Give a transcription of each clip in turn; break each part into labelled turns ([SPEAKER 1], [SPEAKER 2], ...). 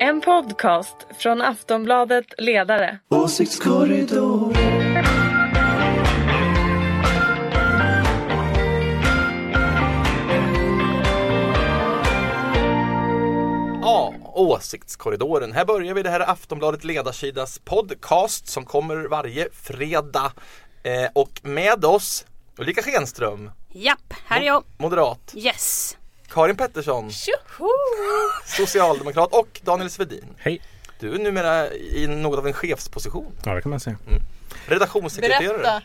[SPEAKER 1] En podcast från Aftonbladet Ledare.
[SPEAKER 2] Åsiktskorridoren.
[SPEAKER 3] Ja, Åsiktskorridoren. Här börjar vi det här är Aftonbladet Ledarsidas podcast som kommer varje fredag. Eh, och med oss Ulrika Schenström,
[SPEAKER 4] Japp, här är jag.
[SPEAKER 3] moderat,
[SPEAKER 4] Yes.
[SPEAKER 3] Karin Pettersson,
[SPEAKER 4] Tjoho!
[SPEAKER 3] socialdemokrat och Daniel Svedin.
[SPEAKER 5] Hej!
[SPEAKER 3] Du är numera i något av en chefsposition.
[SPEAKER 5] Ja, det kan man säga.
[SPEAKER 3] Redaktionssekreterare.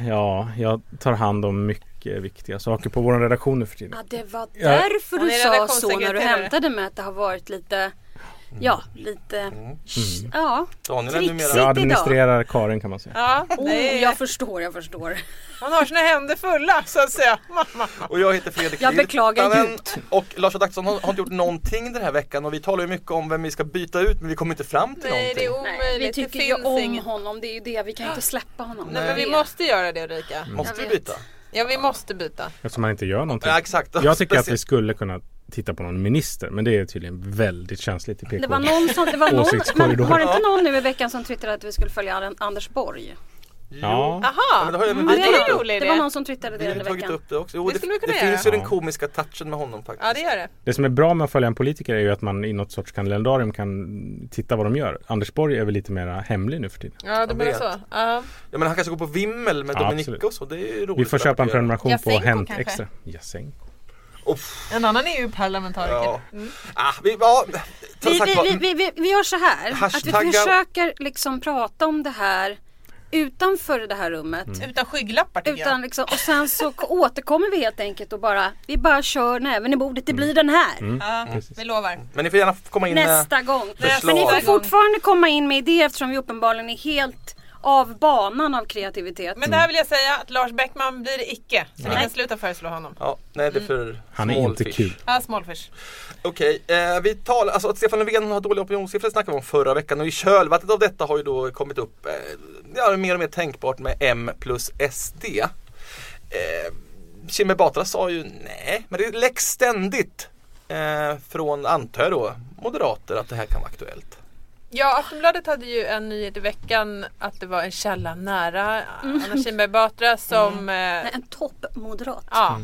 [SPEAKER 5] Ja, jag tar hand om mycket viktiga saker på vår redaktion nu för tiden.
[SPEAKER 4] Ja, det var
[SPEAKER 5] Ja.
[SPEAKER 4] därför
[SPEAKER 6] Han
[SPEAKER 4] du
[SPEAKER 6] är
[SPEAKER 4] sa så när du
[SPEAKER 6] redaktionssekreterare.
[SPEAKER 4] hämtade mig att det har varit lite Ja, lite
[SPEAKER 3] Mm.
[SPEAKER 4] Sh- Ja,
[SPEAKER 3] Daniel är
[SPEAKER 4] Trixigt.
[SPEAKER 3] numera
[SPEAKER 4] idag.
[SPEAKER 5] Jag administrerar Karin kan man säga.
[SPEAKER 6] Ja,
[SPEAKER 4] oh,
[SPEAKER 6] nej.
[SPEAKER 4] jag förstår, jag förstår.
[SPEAKER 6] Han har sina händer fulla så att säga. Mamma.
[SPEAKER 3] Och jag heter Fredrik
[SPEAKER 4] Jag beklagar
[SPEAKER 3] Virtanen.
[SPEAKER 4] djupt.
[SPEAKER 3] Och Lars Adaktusson har, har inte gjort någonting den här veckan och vi talar ju mycket om vem vi ska byta ut men vi kommer inte fram till
[SPEAKER 6] Nej, det
[SPEAKER 3] någonting.
[SPEAKER 6] är
[SPEAKER 4] Nej, vi
[SPEAKER 6] omöjligt.
[SPEAKER 4] tycker
[SPEAKER 6] det
[SPEAKER 4] ju
[SPEAKER 6] finns
[SPEAKER 4] om
[SPEAKER 6] ingen.
[SPEAKER 4] honom, det är ju det, vi kan ju inte släppa honom.
[SPEAKER 6] Nej, men vi måste göra det Ulrika.
[SPEAKER 3] Måste vi
[SPEAKER 4] Jag
[SPEAKER 3] byta?
[SPEAKER 6] Ja, vi måste byta.
[SPEAKER 5] Eftersom man inte gör någonting.
[SPEAKER 3] Ja, exakt.
[SPEAKER 5] Typ. Jag tycker att vi
[SPEAKER 3] Speciellt-
[SPEAKER 5] skulle kunna titta på någon minister men det är tydligen väldigt känsligt i PK.
[SPEAKER 4] Det var någon som, det var någon, men
[SPEAKER 5] Åsiktskorridoren.
[SPEAKER 4] var det inte någon nu i veckan som twittrade att vi skulle följa An- Anders Borg?
[SPEAKER 5] Ja,
[SPEAKER 3] Ja,
[SPEAKER 6] Aha!
[SPEAKER 3] men det har jag- men
[SPEAKER 6] ja,
[SPEAKER 3] vi
[SPEAKER 6] det
[SPEAKER 3] har
[SPEAKER 6] är
[SPEAKER 3] tagit
[SPEAKER 6] en
[SPEAKER 3] upp.
[SPEAKER 6] rolig
[SPEAKER 4] Det var
[SPEAKER 6] idé.
[SPEAKER 4] någon som twittrade
[SPEAKER 3] Vi
[SPEAKER 4] det
[SPEAKER 3] har ju
[SPEAKER 4] under
[SPEAKER 3] tagit
[SPEAKER 4] veckan.
[SPEAKER 3] upp det också. Jo,
[SPEAKER 6] Det
[SPEAKER 3] det
[SPEAKER 6] skulle vi
[SPEAKER 3] det,
[SPEAKER 6] kunna göra.
[SPEAKER 3] finns ju den
[SPEAKER 5] Ja.
[SPEAKER 3] komiska touchen med honom faktiskt.
[SPEAKER 6] Ja, det gör det.
[SPEAKER 5] det som är bra med att följa en politiker är ju att man i något sorts kalendarium kan titta vad de gör. Anders Borg är väl lite mera hemlig nu för tiden.
[SPEAKER 6] Ja, det blir
[SPEAKER 3] vet.
[SPEAKER 6] så. Ja.
[SPEAKER 3] Ja, men han kanske går på vimmel med
[SPEAKER 5] Ja,
[SPEAKER 3] Dominika
[SPEAKER 5] absolut.
[SPEAKER 3] och så. Det är ju roligt.
[SPEAKER 5] Vi får
[SPEAKER 3] att
[SPEAKER 5] köpa en
[SPEAKER 3] göra.
[SPEAKER 5] prenumeration på
[SPEAKER 6] Jasenko
[SPEAKER 5] Hänt
[SPEAKER 6] kanske?
[SPEAKER 5] Extra. Jasenko.
[SPEAKER 6] En annan EU-parlamentariker.
[SPEAKER 3] Ja.
[SPEAKER 6] Mm.
[SPEAKER 3] Ah, vi, ja,
[SPEAKER 4] Vi,
[SPEAKER 3] som sagt var,
[SPEAKER 4] vi, vi, vi, vi gör så här, att
[SPEAKER 3] Hashtagga-
[SPEAKER 4] vi försöker liksom prata om det här utanför det här
[SPEAKER 3] Mm.
[SPEAKER 4] rummet.
[SPEAKER 6] Utan skygglappar tycker
[SPEAKER 4] Utan liksom, och sen så k- återkommer vi helt enkelt och bara, vi bara kör näven i bordet, det blir den här.
[SPEAKER 6] jag. Ja,
[SPEAKER 5] precis.
[SPEAKER 6] vi lovar.
[SPEAKER 3] men ni får gärna komma in. eh,
[SPEAKER 4] Nästa gång.
[SPEAKER 6] Mm.
[SPEAKER 4] Men
[SPEAKER 3] förslag.
[SPEAKER 4] ni får
[SPEAKER 6] Nästa gång.
[SPEAKER 4] fortfarande komma in med idéer eftersom vi uppenbarligen är helt av banan av kreativitet.
[SPEAKER 6] Men det här vill jag säga att Lars Bäckman blir det icke. Så ni kan sluta föreslå honom.
[SPEAKER 3] Ja, nej, det är för
[SPEAKER 5] Han är
[SPEAKER 3] small
[SPEAKER 5] inte
[SPEAKER 3] fish.
[SPEAKER 5] kul.
[SPEAKER 6] Ja, Smallfish.
[SPEAKER 3] Okej, eh, vi talar, alltså att Stefan Löfven har dåliga opinionssiffror snackade vi om förra veckan och i kölvattnet av detta har ju då kommit upp eh, ja, mer och mer tänkbart med M plus SD. Eh, Kinberg Batra sa ju nej, men det läcks ständigt eh, från, antar jag då, moderater att det här kan vara aktuellt.
[SPEAKER 6] Ja, Aftonbladet hade ju en nyhet i veckan att det var en källa nära Anna Kinberg Batra som... eh,
[SPEAKER 4] En toppmoderat.
[SPEAKER 6] Ja.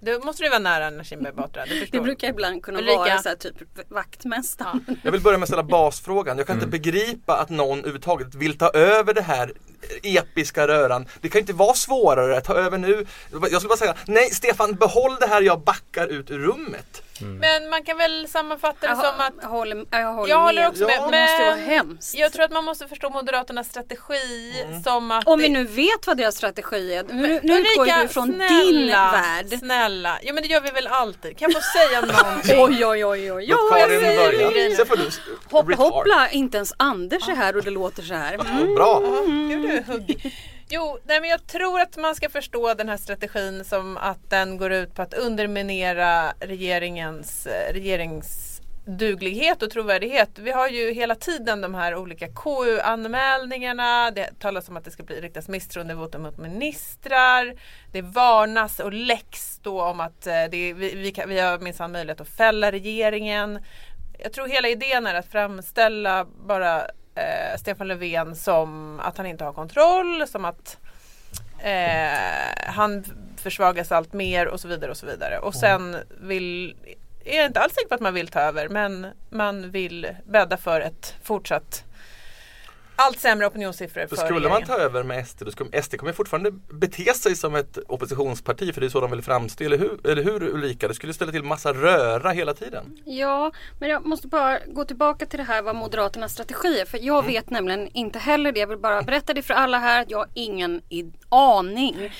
[SPEAKER 6] Då måste du vara nära Anna Kinberg Batra. Det,
[SPEAKER 4] Det
[SPEAKER 6] förstår
[SPEAKER 4] brukar ibland kunna
[SPEAKER 6] Ulrika.
[SPEAKER 4] vara så här, typ vaktmästaren.
[SPEAKER 3] Jag vill börja med att ställa basfrågan. Jag kan inte begripa att någon överhuvudtaget vill ta över det här episka röran. Det kan ju inte vara svårare att ta över nu. Jag skulle bara säga, nej Stefan behåll det här, jag backar ut ur rummet.
[SPEAKER 6] Men man kan väl sammanfatta det som att
[SPEAKER 4] jag håller, jag håller
[SPEAKER 6] jag
[SPEAKER 4] med.
[SPEAKER 6] håller också med.
[SPEAKER 3] Ja,
[SPEAKER 4] Det måste ju vara
[SPEAKER 6] Men
[SPEAKER 4] hemskt.
[SPEAKER 6] jag tror att man måste förstå Moderaternas strategi som att...
[SPEAKER 4] Om vi
[SPEAKER 6] det-
[SPEAKER 4] nu vet vad deras strategi är. Nu, nu
[SPEAKER 6] Ulrika,
[SPEAKER 4] utgår ju du från
[SPEAKER 6] snälla,
[SPEAKER 4] din värld.
[SPEAKER 6] Snälla, ja men det gör vi väl alltid. Kan jag få säga någonting?
[SPEAKER 4] Oj, oj, oj, oj,
[SPEAKER 3] Låt
[SPEAKER 4] oj.
[SPEAKER 3] Karin börja. Sen får du
[SPEAKER 4] Hopp,
[SPEAKER 3] retard.
[SPEAKER 4] hoppla, Mm. inte ens Anders är här och det låter så här.
[SPEAKER 3] Ja, Mm. Bra.
[SPEAKER 6] Gud, du är hugg. Jo, nej, men jag tror att man ska förstå den här strategin som att den går ut på att underminera regeringens eh, regeringsduglighet och trovärdighet. Vi har ju hela tiden de här olika KU-anmälningarna. Det talas om att det ska bli riktas misstroendevotum mot ministrar. Det varnas och läcks då om att eh, det, är- vi, vi, kan, vi har minsann möjlighet att fälla regeringen. Jag tror hela idén är att framställa bara eh, Stefan Löfven som att han inte har kontroll, som att eh, han försvagas allt mer och så vidare och så vidare.
[SPEAKER 3] Mm.
[SPEAKER 6] Och sen vill, är jag inte alls säker på att man vill ta över, men man vill bädda för ett fortsatt allt sämre opinionssiffror för
[SPEAKER 3] För skulle man
[SPEAKER 6] regeringen.
[SPEAKER 3] ta över med SD, då skulle, SD kommer fortfarande bete sig som ett oppositionsparti för det är så de vill framstå, eller hur, eller hur Ulrika? Det skulle ställa till massa röra hela tiden.
[SPEAKER 4] Ja, men jag måste bara gå tillbaka till det här vad Moderaternas strategi är. För jag
[SPEAKER 5] Mm.
[SPEAKER 4] vet nämligen inte heller det. Jag vill bara berätta det för alla här. att Jag har ingen i- aning.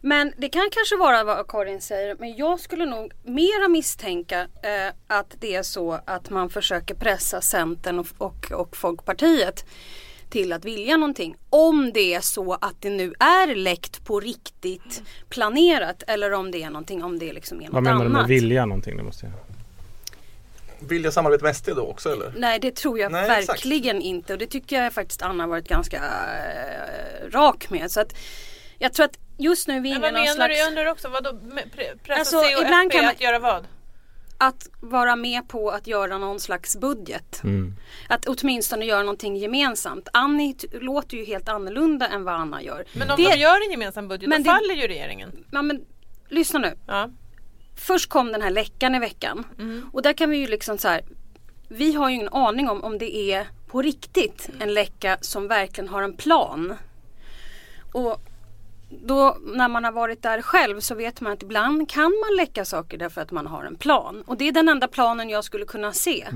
[SPEAKER 4] Men det kan kanske vara vad Karin säger. Men jag skulle nog mera misstänka eh, att det är så att man försöker pressa Centern och, och, och Folkpartiet till att vilja någonting. Om det är så att det nu är läckt på riktigt planerat eller om det är någonting, om det liksom är något
[SPEAKER 5] Mm. Vad menar du
[SPEAKER 4] annat.
[SPEAKER 5] med vilja någonting? Det måste jag...
[SPEAKER 3] Vill jag samarbeta med SD då också eller?
[SPEAKER 4] Nej det tror jag
[SPEAKER 3] Nej, exakt.
[SPEAKER 4] verkligen inte och det tycker jag faktiskt Anna har varit ganska eh, rak med. Så att jag tror att just nu är vi inne
[SPEAKER 6] Men
[SPEAKER 4] i
[SPEAKER 6] vad
[SPEAKER 4] någon
[SPEAKER 6] menar
[SPEAKER 4] slags...
[SPEAKER 6] du? Jag undrar också, vadå, med pre- pressa
[SPEAKER 4] Alltså,
[SPEAKER 6] C och
[SPEAKER 4] ibland
[SPEAKER 6] FP
[SPEAKER 4] kan man-
[SPEAKER 6] att göra vad?
[SPEAKER 4] att vara med på att göra någon slags budget.
[SPEAKER 5] Mm.
[SPEAKER 4] Att åtminstone göra någonting gemensamt. Annie t- låter ju helt annorlunda än vad Anna gör.
[SPEAKER 6] Men om
[SPEAKER 4] Det-
[SPEAKER 6] de gör en gemensam budget
[SPEAKER 4] Men
[SPEAKER 6] då
[SPEAKER 4] det-
[SPEAKER 6] faller ju regeringen.
[SPEAKER 4] Ja, men, lyssna nu.
[SPEAKER 6] Ja.
[SPEAKER 4] Först kom den här läckan i veckan.
[SPEAKER 5] Mm.
[SPEAKER 4] Och där kan vi ju liksom så här. Vi har ju ingen aning om om det är på riktigt
[SPEAKER 5] Mm.
[SPEAKER 4] en läcka som verkligen har en plan. Och då när man har varit där själv så vet man att ibland kan man läcka saker därför att man har en plan. Och det är den enda planen jag skulle kunna se.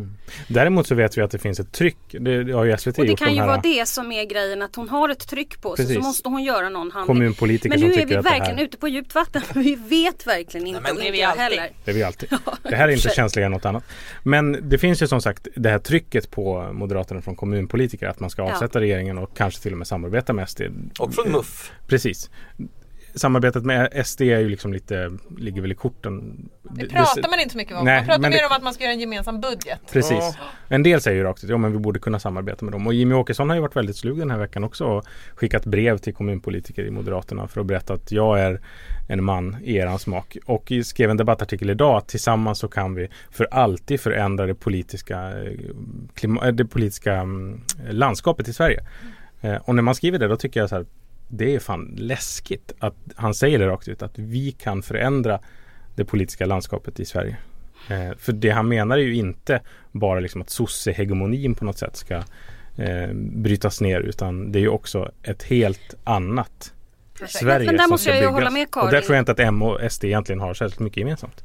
[SPEAKER 5] Däremot så vet vi att det finns ett tryck. Det, Mm. det har ju SVT
[SPEAKER 4] Och det
[SPEAKER 5] gjort
[SPEAKER 4] kan
[SPEAKER 5] de
[SPEAKER 4] ju
[SPEAKER 5] här
[SPEAKER 4] vara det som är grejen att hon har ett tryck på sig så
[SPEAKER 5] Precis.
[SPEAKER 4] måste hon göra någon handling.
[SPEAKER 5] kommunpolitiker
[SPEAKER 4] Men
[SPEAKER 5] som
[SPEAKER 4] nu
[SPEAKER 5] tycker
[SPEAKER 4] är vi
[SPEAKER 5] att det
[SPEAKER 4] verkligen
[SPEAKER 5] här,
[SPEAKER 4] ute på djupt vatten. Vi vet verkligen inte.
[SPEAKER 3] men
[SPEAKER 4] och
[SPEAKER 6] det är
[SPEAKER 4] inte
[SPEAKER 6] vi
[SPEAKER 4] jag
[SPEAKER 6] alltid.
[SPEAKER 4] heller.
[SPEAKER 5] det är vi alltid. Det här är inte
[SPEAKER 4] ursäkta.
[SPEAKER 5] känsligare än något annat. Men det finns ju som sagt det här trycket på Moderaterna från kommunpolitiker att man ska
[SPEAKER 4] Ja.
[SPEAKER 5] avsätta regeringen och kanske till och med samarbeta med SD.
[SPEAKER 3] Och från MUF.
[SPEAKER 5] Precis. Samarbetet med SD är ju liksom lite, ligger väl i korten.
[SPEAKER 6] Det pratar man inte så mycket om.
[SPEAKER 5] Nej,
[SPEAKER 6] man pratar
[SPEAKER 5] men
[SPEAKER 6] mer
[SPEAKER 5] det-
[SPEAKER 6] om att man ska göra en gemensam budget.
[SPEAKER 5] Precis.
[SPEAKER 3] Ja.
[SPEAKER 5] En del säger ju rakt ut, ja men vi borde kunna samarbeta med dem. Och Jimmy Åkesson har ju varit väldigt slug den här veckan också och skickat brev till kommunpolitiker i Moderaterna för att berätta att jag är en man i eran smak. Och i- skrev en debattartikel idag att tillsammans så kan vi för alltid förändra det politiska, eh, klima- eh, det politiska mm, landskapet i Sverige. Eh, Och när man skriver det då tycker jag så här, det är fan läskigt att han säger det rakt ut, att vi kan förändra det politiska landskapet i Sverige. Eh, för det han menar är ju inte bara liksom att sossehegemonin på något sätt ska eh, brytas ner utan det är ju också ett helt annat
[SPEAKER 6] Projekt.
[SPEAKER 5] Sverige
[SPEAKER 4] Men där
[SPEAKER 5] som
[SPEAKER 4] måste
[SPEAKER 5] ska
[SPEAKER 4] jag ju
[SPEAKER 5] byggas.
[SPEAKER 4] hålla med
[SPEAKER 5] Och där
[SPEAKER 4] Karin.
[SPEAKER 5] tror jag inte att M och SD egentligen har särskilt mycket gemensamt.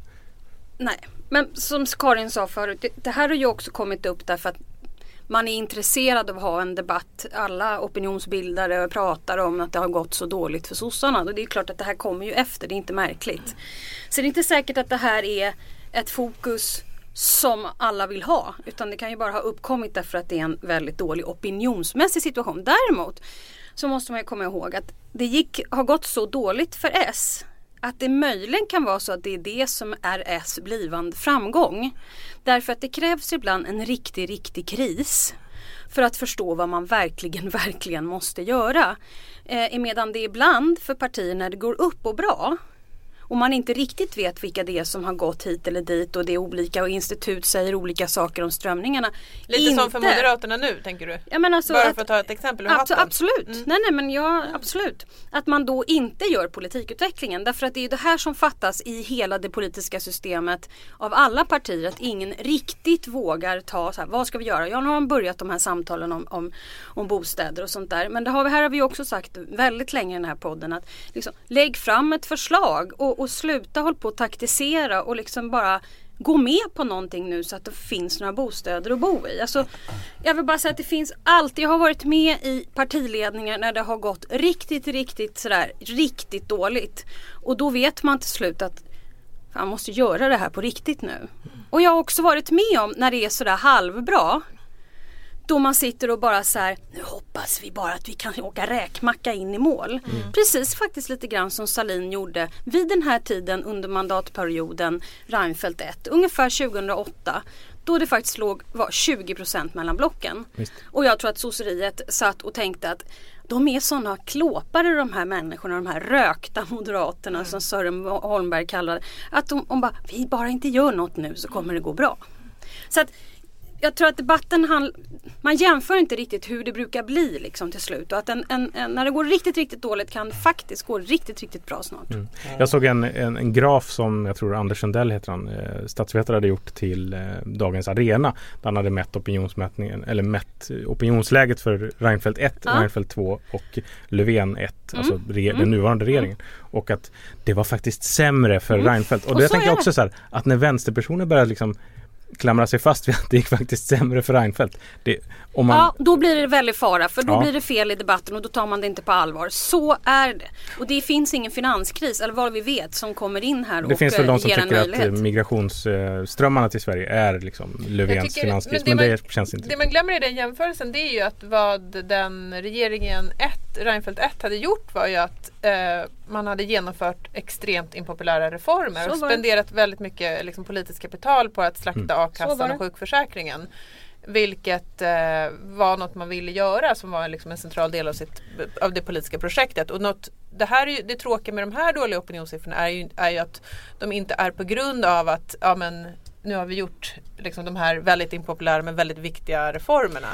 [SPEAKER 4] Nej, men som Karin sa förut, det, det här har ju också kommit upp därför att man är intresserad av att ha en debatt. Alla opinionsbildare pratar om att det har gått så dåligt för sossarna. Och det är klart att det här kommer ju efter, det är inte märkligt. Så det är inte säkert att det här är ett fokus som alla vill ha. Utan det kan ju bara ha uppkommit därför att det är en väldigt dålig opinionsmässig situation. Däremot så måste man ju komma ihåg att det gick, har gått så dåligt för S att det möjligen kan vara så att det är det som är S blivande framgång. Därför att det krävs ibland en riktig, riktig kris för att förstå vad man verkligen, verkligen måste göra. Eh, medan det ibland för partier när det går upp och bra och man inte riktigt vet vilka det är som har gått hit eller dit och det är olika och institut säger olika saker om strömningarna.
[SPEAKER 6] Lite
[SPEAKER 4] inte.
[SPEAKER 6] som för Moderaterna nu tänker du?
[SPEAKER 4] Ja, men alltså
[SPEAKER 6] Bara
[SPEAKER 4] att-
[SPEAKER 6] för att ta ett exempel Mm. ur
[SPEAKER 4] Abso-
[SPEAKER 6] hatten.
[SPEAKER 4] absolut, nej nej men ja absolut. Att man då inte gör politikutvecklingen därför att det är ju det här som fattas i hela det politiska systemet av alla partier att ingen riktigt vågar ta så här, vad ska vi göra? Ja nu har man börjat de här samtalen om, om, om bostäder och sånt där. Men det har vi, här har vi också sagt väldigt länge i den här podden att liksom, lägg fram ett förslag och, och sluta håll på att taktisera och liksom bara gå med på någonting nu så att det finns några bostäder att bo i. Alltså, jag vill bara säga att det finns alltid, jag har varit med i partiledningar när det har gått riktigt, riktigt sådär, riktigt dåligt. Och då vet man till slut att man måste göra det här på riktigt nu. Och jag har också varit med om när det är sådär halvbra. Då man sitter och bara så här, nu hoppas vi bara att vi kan åka räkmacka in i mål. Precis faktiskt lite grann som Salin gjorde vid den här tiden under mandatperioden Reinfeldt 1, ungefär 2008. Då det faktiskt låg, var 20% mellan blocken.
[SPEAKER 5] Visst.
[SPEAKER 4] Och jag tror att sosseriet satt och tänkte att de är sådana klåpare de här människorna, de här rökta moderaterna som Sören Holmberg kallade Att de, de bara, vi bara inte gör något nu så kommer det gå bra. Så att jag tror att debatten handl- man jämför inte riktigt hur det brukar bli liksom till slut och att en, en, en, när det går riktigt, riktigt dåligt kan faktiskt gå riktigt, riktigt bra snart.
[SPEAKER 5] Mm. Jag såg en, en, en graf som jag tror Anders Sundell heter han, eh, statsvetare hade gjort till eh, Dagens Arena. Där han hade mätt opinionsmätningen, eller mätt eh, opinionsläget för Reinfeldt 1,
[SPEAKER 4] Ja. Mm.
[SPEAKER 5] Reinfeldt 2 och Löfven 1. Alltså re, den nuvarande regeringen. Och att det var faktiskt sämre för Reinfeldt. Och,
[SPEAKER 4] Mm. Och
[SPEAKER 5] det
[SPEAKER 4] så
[SPEAKER 5] tänker jag
[SPEAKER 4] är det.
[SPEAKER 5] också så här, att när vänsterpersoner börjar liksom klamra sig fast vid att det gick faktiskt sämre för Reinfeldt. Det, om man,
[SPEAKER 4] Ja, då blir det väldigt fara för då
[SPEAKER 5] Ja.
[SPEAKER 4] blir det fel i debatten och då tar man det inte på allvar. Så är det. Och det finns ingen finanskris, eller vad vi vet, som kommer in här
[SPEAKER 5] det
[SPEAKER 4] och
[SPEAKER 5] finns väl
[SPEAKER 4] eh,
[SPEAKER 5] de som
[SPEAKER 4] ger en
[SPEAKER 5] tycker att eh,
[SPEAKER 4] möjlighet.
[SPEAKER 5] migrationsströmmarna till Sverige är liksom Löfvens
[SPEAKER 6] tycker-
[SPEAKER 5] finanskris. Men
[SPEAKER 6] men det
[SPEAKER 5] det,
[SPEAKER 6] man-
[SPEAKER 5] känns inte
[SPEAKER 6] Det man glömmer i den jämförelsen det är ju att vad den regeringen 1, Reinfeldt 1 hade gjort var ju att eh, man hade genomfört extremt impopulära reformer
[SPEAKER 4] Så
[SPEAKER 6] och
[SPEAKER 4] var det.
[SPEAKER 6] spenderat väldigt mycket liksom, politiskt kapital på att slakta
[SPEAKER 5] Mm.
[SPEAKER 4] Så var
[SPEAKER 6] a-kassan
[SPEAKER 4] det.
[SPEAKER 6] och sjukförsäkringen. Vilket eh, var något man ville göra som var liksom en central del av, sitt, av det politiska projektet. Och något, det, här är ju, det tråkiga med de här dåliga opinionssiffrorna är ju, är ju att de inte är på grund av att ja, men, nu har vi gjort liksom, de här väldigt impopulära men väldigt viktiga reformerna.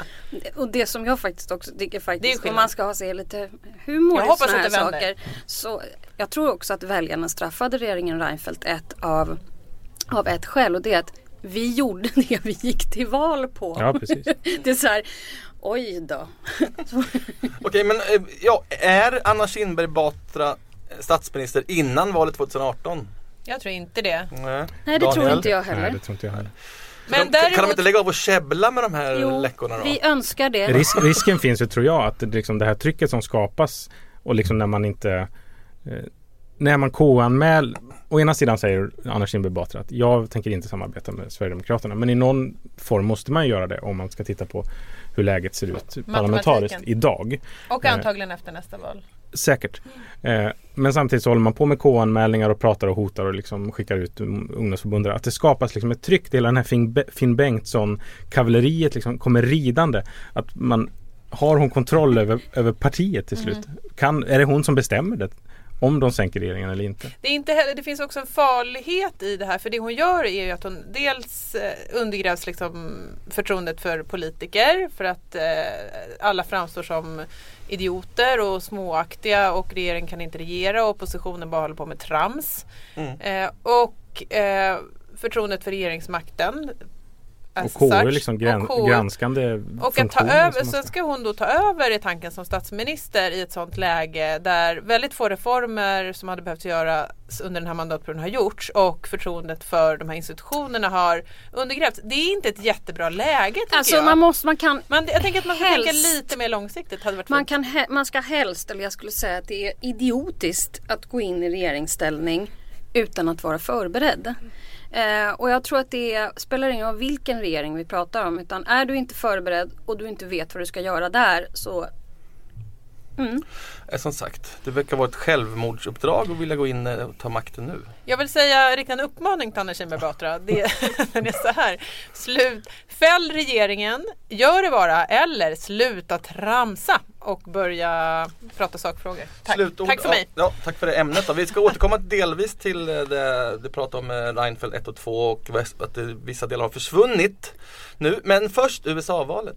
[SPEAKER 4] Och det som jag faktiskt också tycker
[SPEAKER 6] Det är
[SPEAKER 4] faktiskt,
[SPEAKER 6] skillnad.
[SPEAKER 4] om man ska ha sig lite humor
[SPEAKER 6] Jag
[SPEAKER 4] i
[SPEAKER 6] hoppas
[SPEAKER 4] sådana här
[SPEAKER 6] att det vänder.
[SPEAKER 4] saker. Så jag tror också att väljarna straffade regeringen Reinfeldt ett av, av ett skäl och det är att vi gjorde det vi gick till val på.
[SPEAKER 5] Ja, precis.
[SPEAKER 4] Det är så här, oj då.
[SPEAKER 3] Okej, men eh, ja, är Anna Kinberg Batra eh, statsminister innan valet 2018?
[SPEAKER 6] Jag tror inte det.
[SPEAKER 3] Nej,
[SPEAKER 4] Nej det tror inte jag
[SPEAKER 5] Nej,
[SPEAKER 4] heller.
[SPEAKER 5] det tror inte jag heller.
[SPEAKER 3] Men
[SPEAKER 6] Men
[SPEAKER 3] de, Kan de
[SPEAKER 6] däremot,
[SPEAKER 3] inte lägga av och käbbla med de här
[SPEAKER 4] Jo,
[SPEAKER 3] läckorna då?
[SPEAKER 4] vi önskar det.
[SPEAKER 5] Ris- risken finns ju tror jag att det, liksom, det här trycket som skapas och liksom när man inte eh, när man KU-anmäl Å ena sidan säger Anna Kinberg Batra att jag tänker inte samarbeta med Sverigedemokraterna. Men i någon form måste man göra det om man ska titta på hur läget ser ut parlamentariskt idag.
[SPEAKER 6] och antagligen efter nästa val.
[SPEAKER 5] Säkert. Eh, men samtidigt så håller man på med K-anmälningar och pratar och hotar och liksom skickar ut um, ungdomsförbundare. Att det skapas liksom ett tryck. Det är hela den här Finn, Be- Finn Bengtsson-kavalleriet liksom kommer ridande. Att man har hon kontroll över, över partiet till slut?
[SPEAKER 6] Mm.
[SPEAKER 5] Kan, är det hon som bestämmer det? Om de sänker regeringen eller inte.
[SPEAKER 6] Det, är inte heller, det finns också en farlighet i det här för det hon gör är ju att hon dels eh, undergrävs liksom förtroendet för politiker för att eh, alla framstår som idioter och småaktiga och regeringen kan inte regera och oppositionen bara håller på med trams.
[SPEAKER 3] Mm.
[SPEAKER 6] Eh, och eh, förtroendet för regeringsmakten. as
[SPEAKER 5] Och KU är
[SPEAKER 6] such.
[SPEAKER 5] liksom
[SPEAKER 6] Alltså,
[SPEAKER 5] gran,
[SPEAKER 6] Och KU.
[SPEAKER 5] granskande
[SPEAKER 6] Och att ta
[SPEAKER 5] funktioner
[SPEAKER 6] över,
[SPEAKER 5] som man
[SPEAKER 6] sen ska hon då ta över i tanken som statsminister i ett sånt läge där väldigt få reformer som hade behövt göras under den här mandatperioden har gjorts och förtroendet för de här institutionerna har undergrävts. Det är inte ett jättebra läge tycker
[SPEAKER 4] Alltså
[SPEAKER 6] jag.
[SPEAKER 4] man måste, man kan
[SPEAKER 6] man, jag tänker att man ska tänka
[SPEAKER 4] helst-
[SPEAKER 6] lite mer långsiktigt. Hade varit
[SPEAKER 4] Man,
[SPEAKER 6] fint.
[SPEAKER 4] kan he- man ska helst, eller jag skulle säga att det är idiotiskt att gå in i regeringsställning utan att vara förberedd. Eh, och jag tror att det spelar ingen roll vilken regering vi pratar om utan är du inte förberedd och du inte vet vad du ska göra där så
[SPEAKER 3] Eh, Som sagt, det verkar vara ett självmordsuppdrag att vilja gå in eh, och ta makten nu.
[SPEAKER 6] Jag vill säga, rikta en uppmaning till Anna Kinberg Batra. Det, den är så här. Slut. Fäll regeringen, gör det bara, eller sluta tramsa och börja prata sakfrågor. Tack,
[SPEAKER 3] Slutord.
[SPEAKER 6] Tack för mig.
[SPEAKER 3] Ja, ja, tack för det ämnet då. Vi ska återkomma delvis till eh, det du pratade om eh, Reinfeldt 1 och 2 och väst- att eh, vissa delar har försvunnit nu. Men först USA-valet.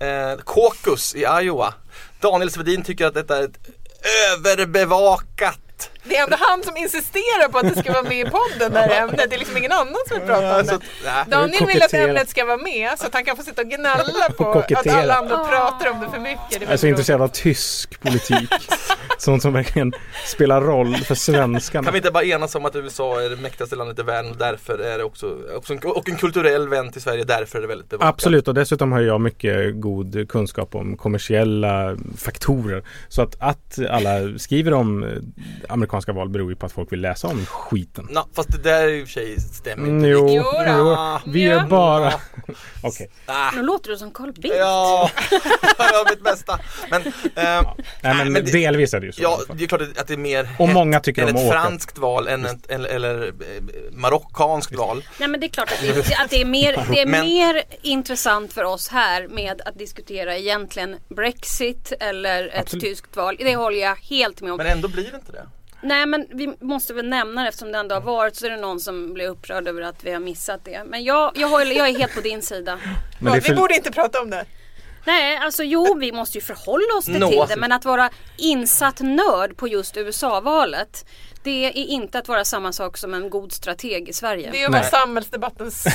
[SPEAKER 3] eh, caucus i Iowa. Daniel Svedin tycker att detta är ett överbevakat
[SPEAKER 6] Det är ändå han som insisterar på att det ska vara med i podden, det här ämnet. Det är liksom ingen annan som vill prata om
[SPEAKER 3] Så
[SPEAKER 6] det.
[SPEAKER 3] att, nej.
[SPEAKER 6] Daniel vill att
[SPEAKER 5] Koketterat.
[SPEAKER 6] ämnet ska vara med så att han kan få sitta och gnälla på att
[SPEAKER 5] Koketterat.
[SPEAKER 6] alla andra pratar om det för mycket. Det
[SPEAKER 5] Jag är så
[SPEAKER 6] blir roligt.
[SPEAKER 5] intresserad av tysk politik. Sånt som verkligen spelar roll för svenskarna.
[SPEAKER 3] Kan vi inte bara enas om att USA är det mäktigaste landet i världen och därför är det också, också en, och en kulturell vän till Sverige, därför är det väldigt bevakat.
[SPEAKER 5] Absolut och dessutom har jag mycket god kunskap om kommersiella faktorer. Så att, att alla skriver om eh, amerikanska val beror ju på att folk vill läsa om skiten.
[SPEAKER 3] Nå, fast det där i och för sig stämmer inte.
[SPEAKER 5] Mm, jo,
[SPEAKER 6] Jo då.
[SPEAKER 5] jo, vi är
[SPEAKER 6] Ja.
[SPEAKER 5] bara... Okej,
[SPEAKER 3] Ah,
[SPEAKER 4] nu låter du som Carl Bildt.
[SPEAKER 3] ja, jag gör mitt bästa. Men, ehm,
[SPEAKER 5] nej
[SPEAKER 3] men
[SPEAKER 5] men
[SPEAKER 3] det-
[SPEAKER 5] delvis är det ju så. i
[SPEAKER 3] ja,
[SPEAKER 5] alla fall.
[SPEAKER 3] det är klart att det är mer
[SPEAKER 5] Och
[SPEAKER 3] hett
[SPEAKER 5] många tycker
[SPEAKER 3] än
[SPEAKER 5] om att
[SPEAKER 3] ett
[SPEAKER 5] åka.
[SPEAKER 3] franskt val än ett, eller, eller eh, marockanskt val.
[SPEAKER 4] Nej men det är klart att det, att det är, mer, det är
[SPEAKER 3] Men-
[SPEAKER 4] mer intressant för oss här med att diskutera egentligen Brexit eller ett
[SPEAKER 5] Absolut.
[SPEAKER 4] tyskt val. Det håller jag helt med om.
[SPEAKER 3] Men ändå blir det inte det.
[SPEAKER 4] Nej men vi måste väl nämna det eftersom det ändå har varit så är det någon som blir upprörd över att vi har missat det. Men jag, jag, håller, jag är helt på din sida.
[SPEAKER 5] Men det är
[SPEAKER 6] Vi
[SPEAKER 5] för-
[SPEAKER 6] borde inte prata om det.
[SPEAKER 4] Nej alltså jo vi måste ju förhålla oss till
[SPEAKER 3] Nå.
[SPEAKER 4] det men att vara insatt nörd på just USA-valet det är inte att vara samma sak som en god strateg i Sverige.
[SPEAKER 6] Det är ju bara
[SPEAKER 5] Nej.
[SPEAKER 6] samhällsdebattens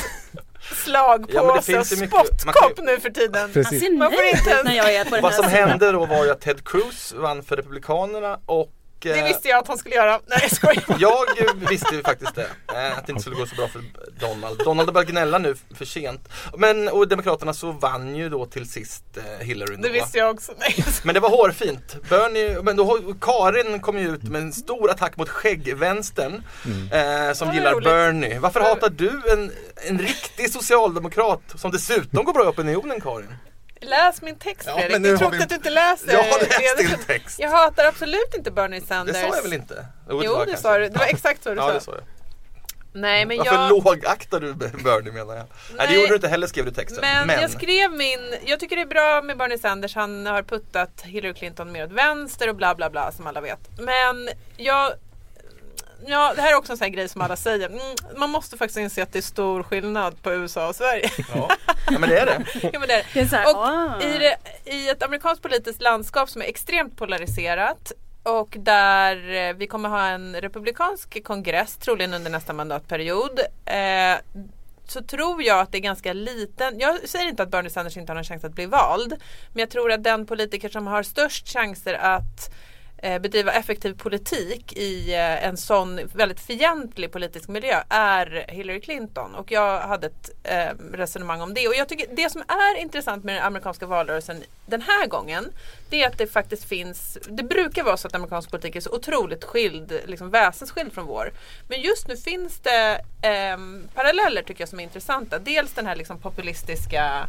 [SPEAKER 6] slagpåse
[SPEAKER 3] Ja, men det
[SPEAKER 6] och
[SPEAKER 3] finns ju mycket- man kan ju-
[SPEAKER 6] spottkopp nu för tiden.
[SPEAKER 5] Precis.
[SPEAKER 4] Ser
[SPEAKER 6] Man får
[SPEAKER 4] nöjd
[SPEAKER 6] inte
[SPEAKER 4] ut när jag är på den
[SPEAKER 3] Vad som
[SPEAKER 4] här sidan.
[SPEAKER 3] hände då var ju att Ted Cruz vann för Republikanerna och Och, eh,
[SPEAKER 6] Det visste jag att han skulle göra. Nej jag skojar.
[SPEAKER 3] Jag eh, visste ju faktiskt det. Eh, Att det inte skulle gå så bra för Donald. Donald har börjat gnälla nu för sent. Men, och Demokraterna så vann ju då till sist eh, Hillary.
[SPEAKER 6] Det
[SPEAKER 3] då.
[SPEAKER 6] visste jag också. Nej, jag skojar.
[SPEAKER 3] Men det var hårfint. Bernie, men då, har- Karin kom ju ut med en stor attack mot skäggvänstern eh, som
[SPEAKER 6] Det var
[SPEAKER 3] gillar
[SPEAKER 6] roligt.
[SPEAKER 3] Bernie. Varför
[SPEAKER 6] Det-
[SPEAKER 3] hatar du en, en riktig socialdemokrat som dessutom går bra i opinionen Karin?
[SPEAKER 6] Läs min text
[SPEAKER 3] Ja,
[SPEAKER 6] Fredrik.
[SPEAKER 3] men nu
[SPEAKER 6] Det
[SPEAKER 3] har
[SPEAKER 6] är tråkigt
[SPEAKER 3] vi-
[SPEAKER 6] att du inte läser.
[SPEAKER 3] Jag har läst
[SPEAKER 6] redan.
[SPEAKER 3] din text.
[SPEAKER 6] Eh, Jag hatar absolut inte Bernie
[SPEAKER 3] Det
[SPEAKER 6] Sanders.
[SPEAKER 3] sa jag väl inte?
[SPEAKER 6] Jo, det
[SPEAKER 3] kanske.
[SPEAKER 6] sa du. Det var exakt så du
[SPEAKER 3] Ja, det
[SPEAKER 6] sa.
[SPEAKER 3] sa jag.
[SPEAKER 6] Nej, men
[SPEAKER 3] Varför
[SPEAKER 6] jag...
[SPEAKER 3] lågaktar du Bernie menar jag? Nej. det
[SPEAKER 6] Nej.
[SPEAKER 3] gjorde du inte heller skrev du texten.
[SPEAKER 6] Men, jag skrev min, jag tycker det är bra med Bernie Sanders, han har puttat Hillary Clinton mer åt vänster och bla bla bla som alla vet. Men jag, ja det här är också en sån här grej som alla säger, mm, man måste faktiskt inse att det är stor skillnad på USA och Sverige.
[SPEAKER 3] ja. ja men det är det.
[SPEAKER 6] ja, men det är det.
[SPEAKER 4] Det är så här,
[SPEAKER 6] Och
[SPEAKER 4] ah.
[SPEAKER 6] i, det, I ett amerikanskt politiskt landskap som är extremt polariserat och där eh, vi kommer ha en republikansk kongress troligen under nästa mandatperiod. Eh, så tror jag att det är ganska liten, jag säger inte att Bernie Sanders inte har någon chans att bli vald. Men jag tror att den politiker som har störst chanser att eh, bedriva effektiv politik i eh, en sån väldigt fientlig politisk miljö är Hillary Clinton. Och jag hade ett eh, resonemang om det. Och jag tycker det som är intressant med den amerikanska valrörelsen den här gången det är att det faktiskt finns, det brukar vara så att amerikansk politik är så otroligt skild, liksom väsensskild från vår. Men just nu finns det ehm, paralleller tycker jag som är intressanta. Dels den här liksom populistiska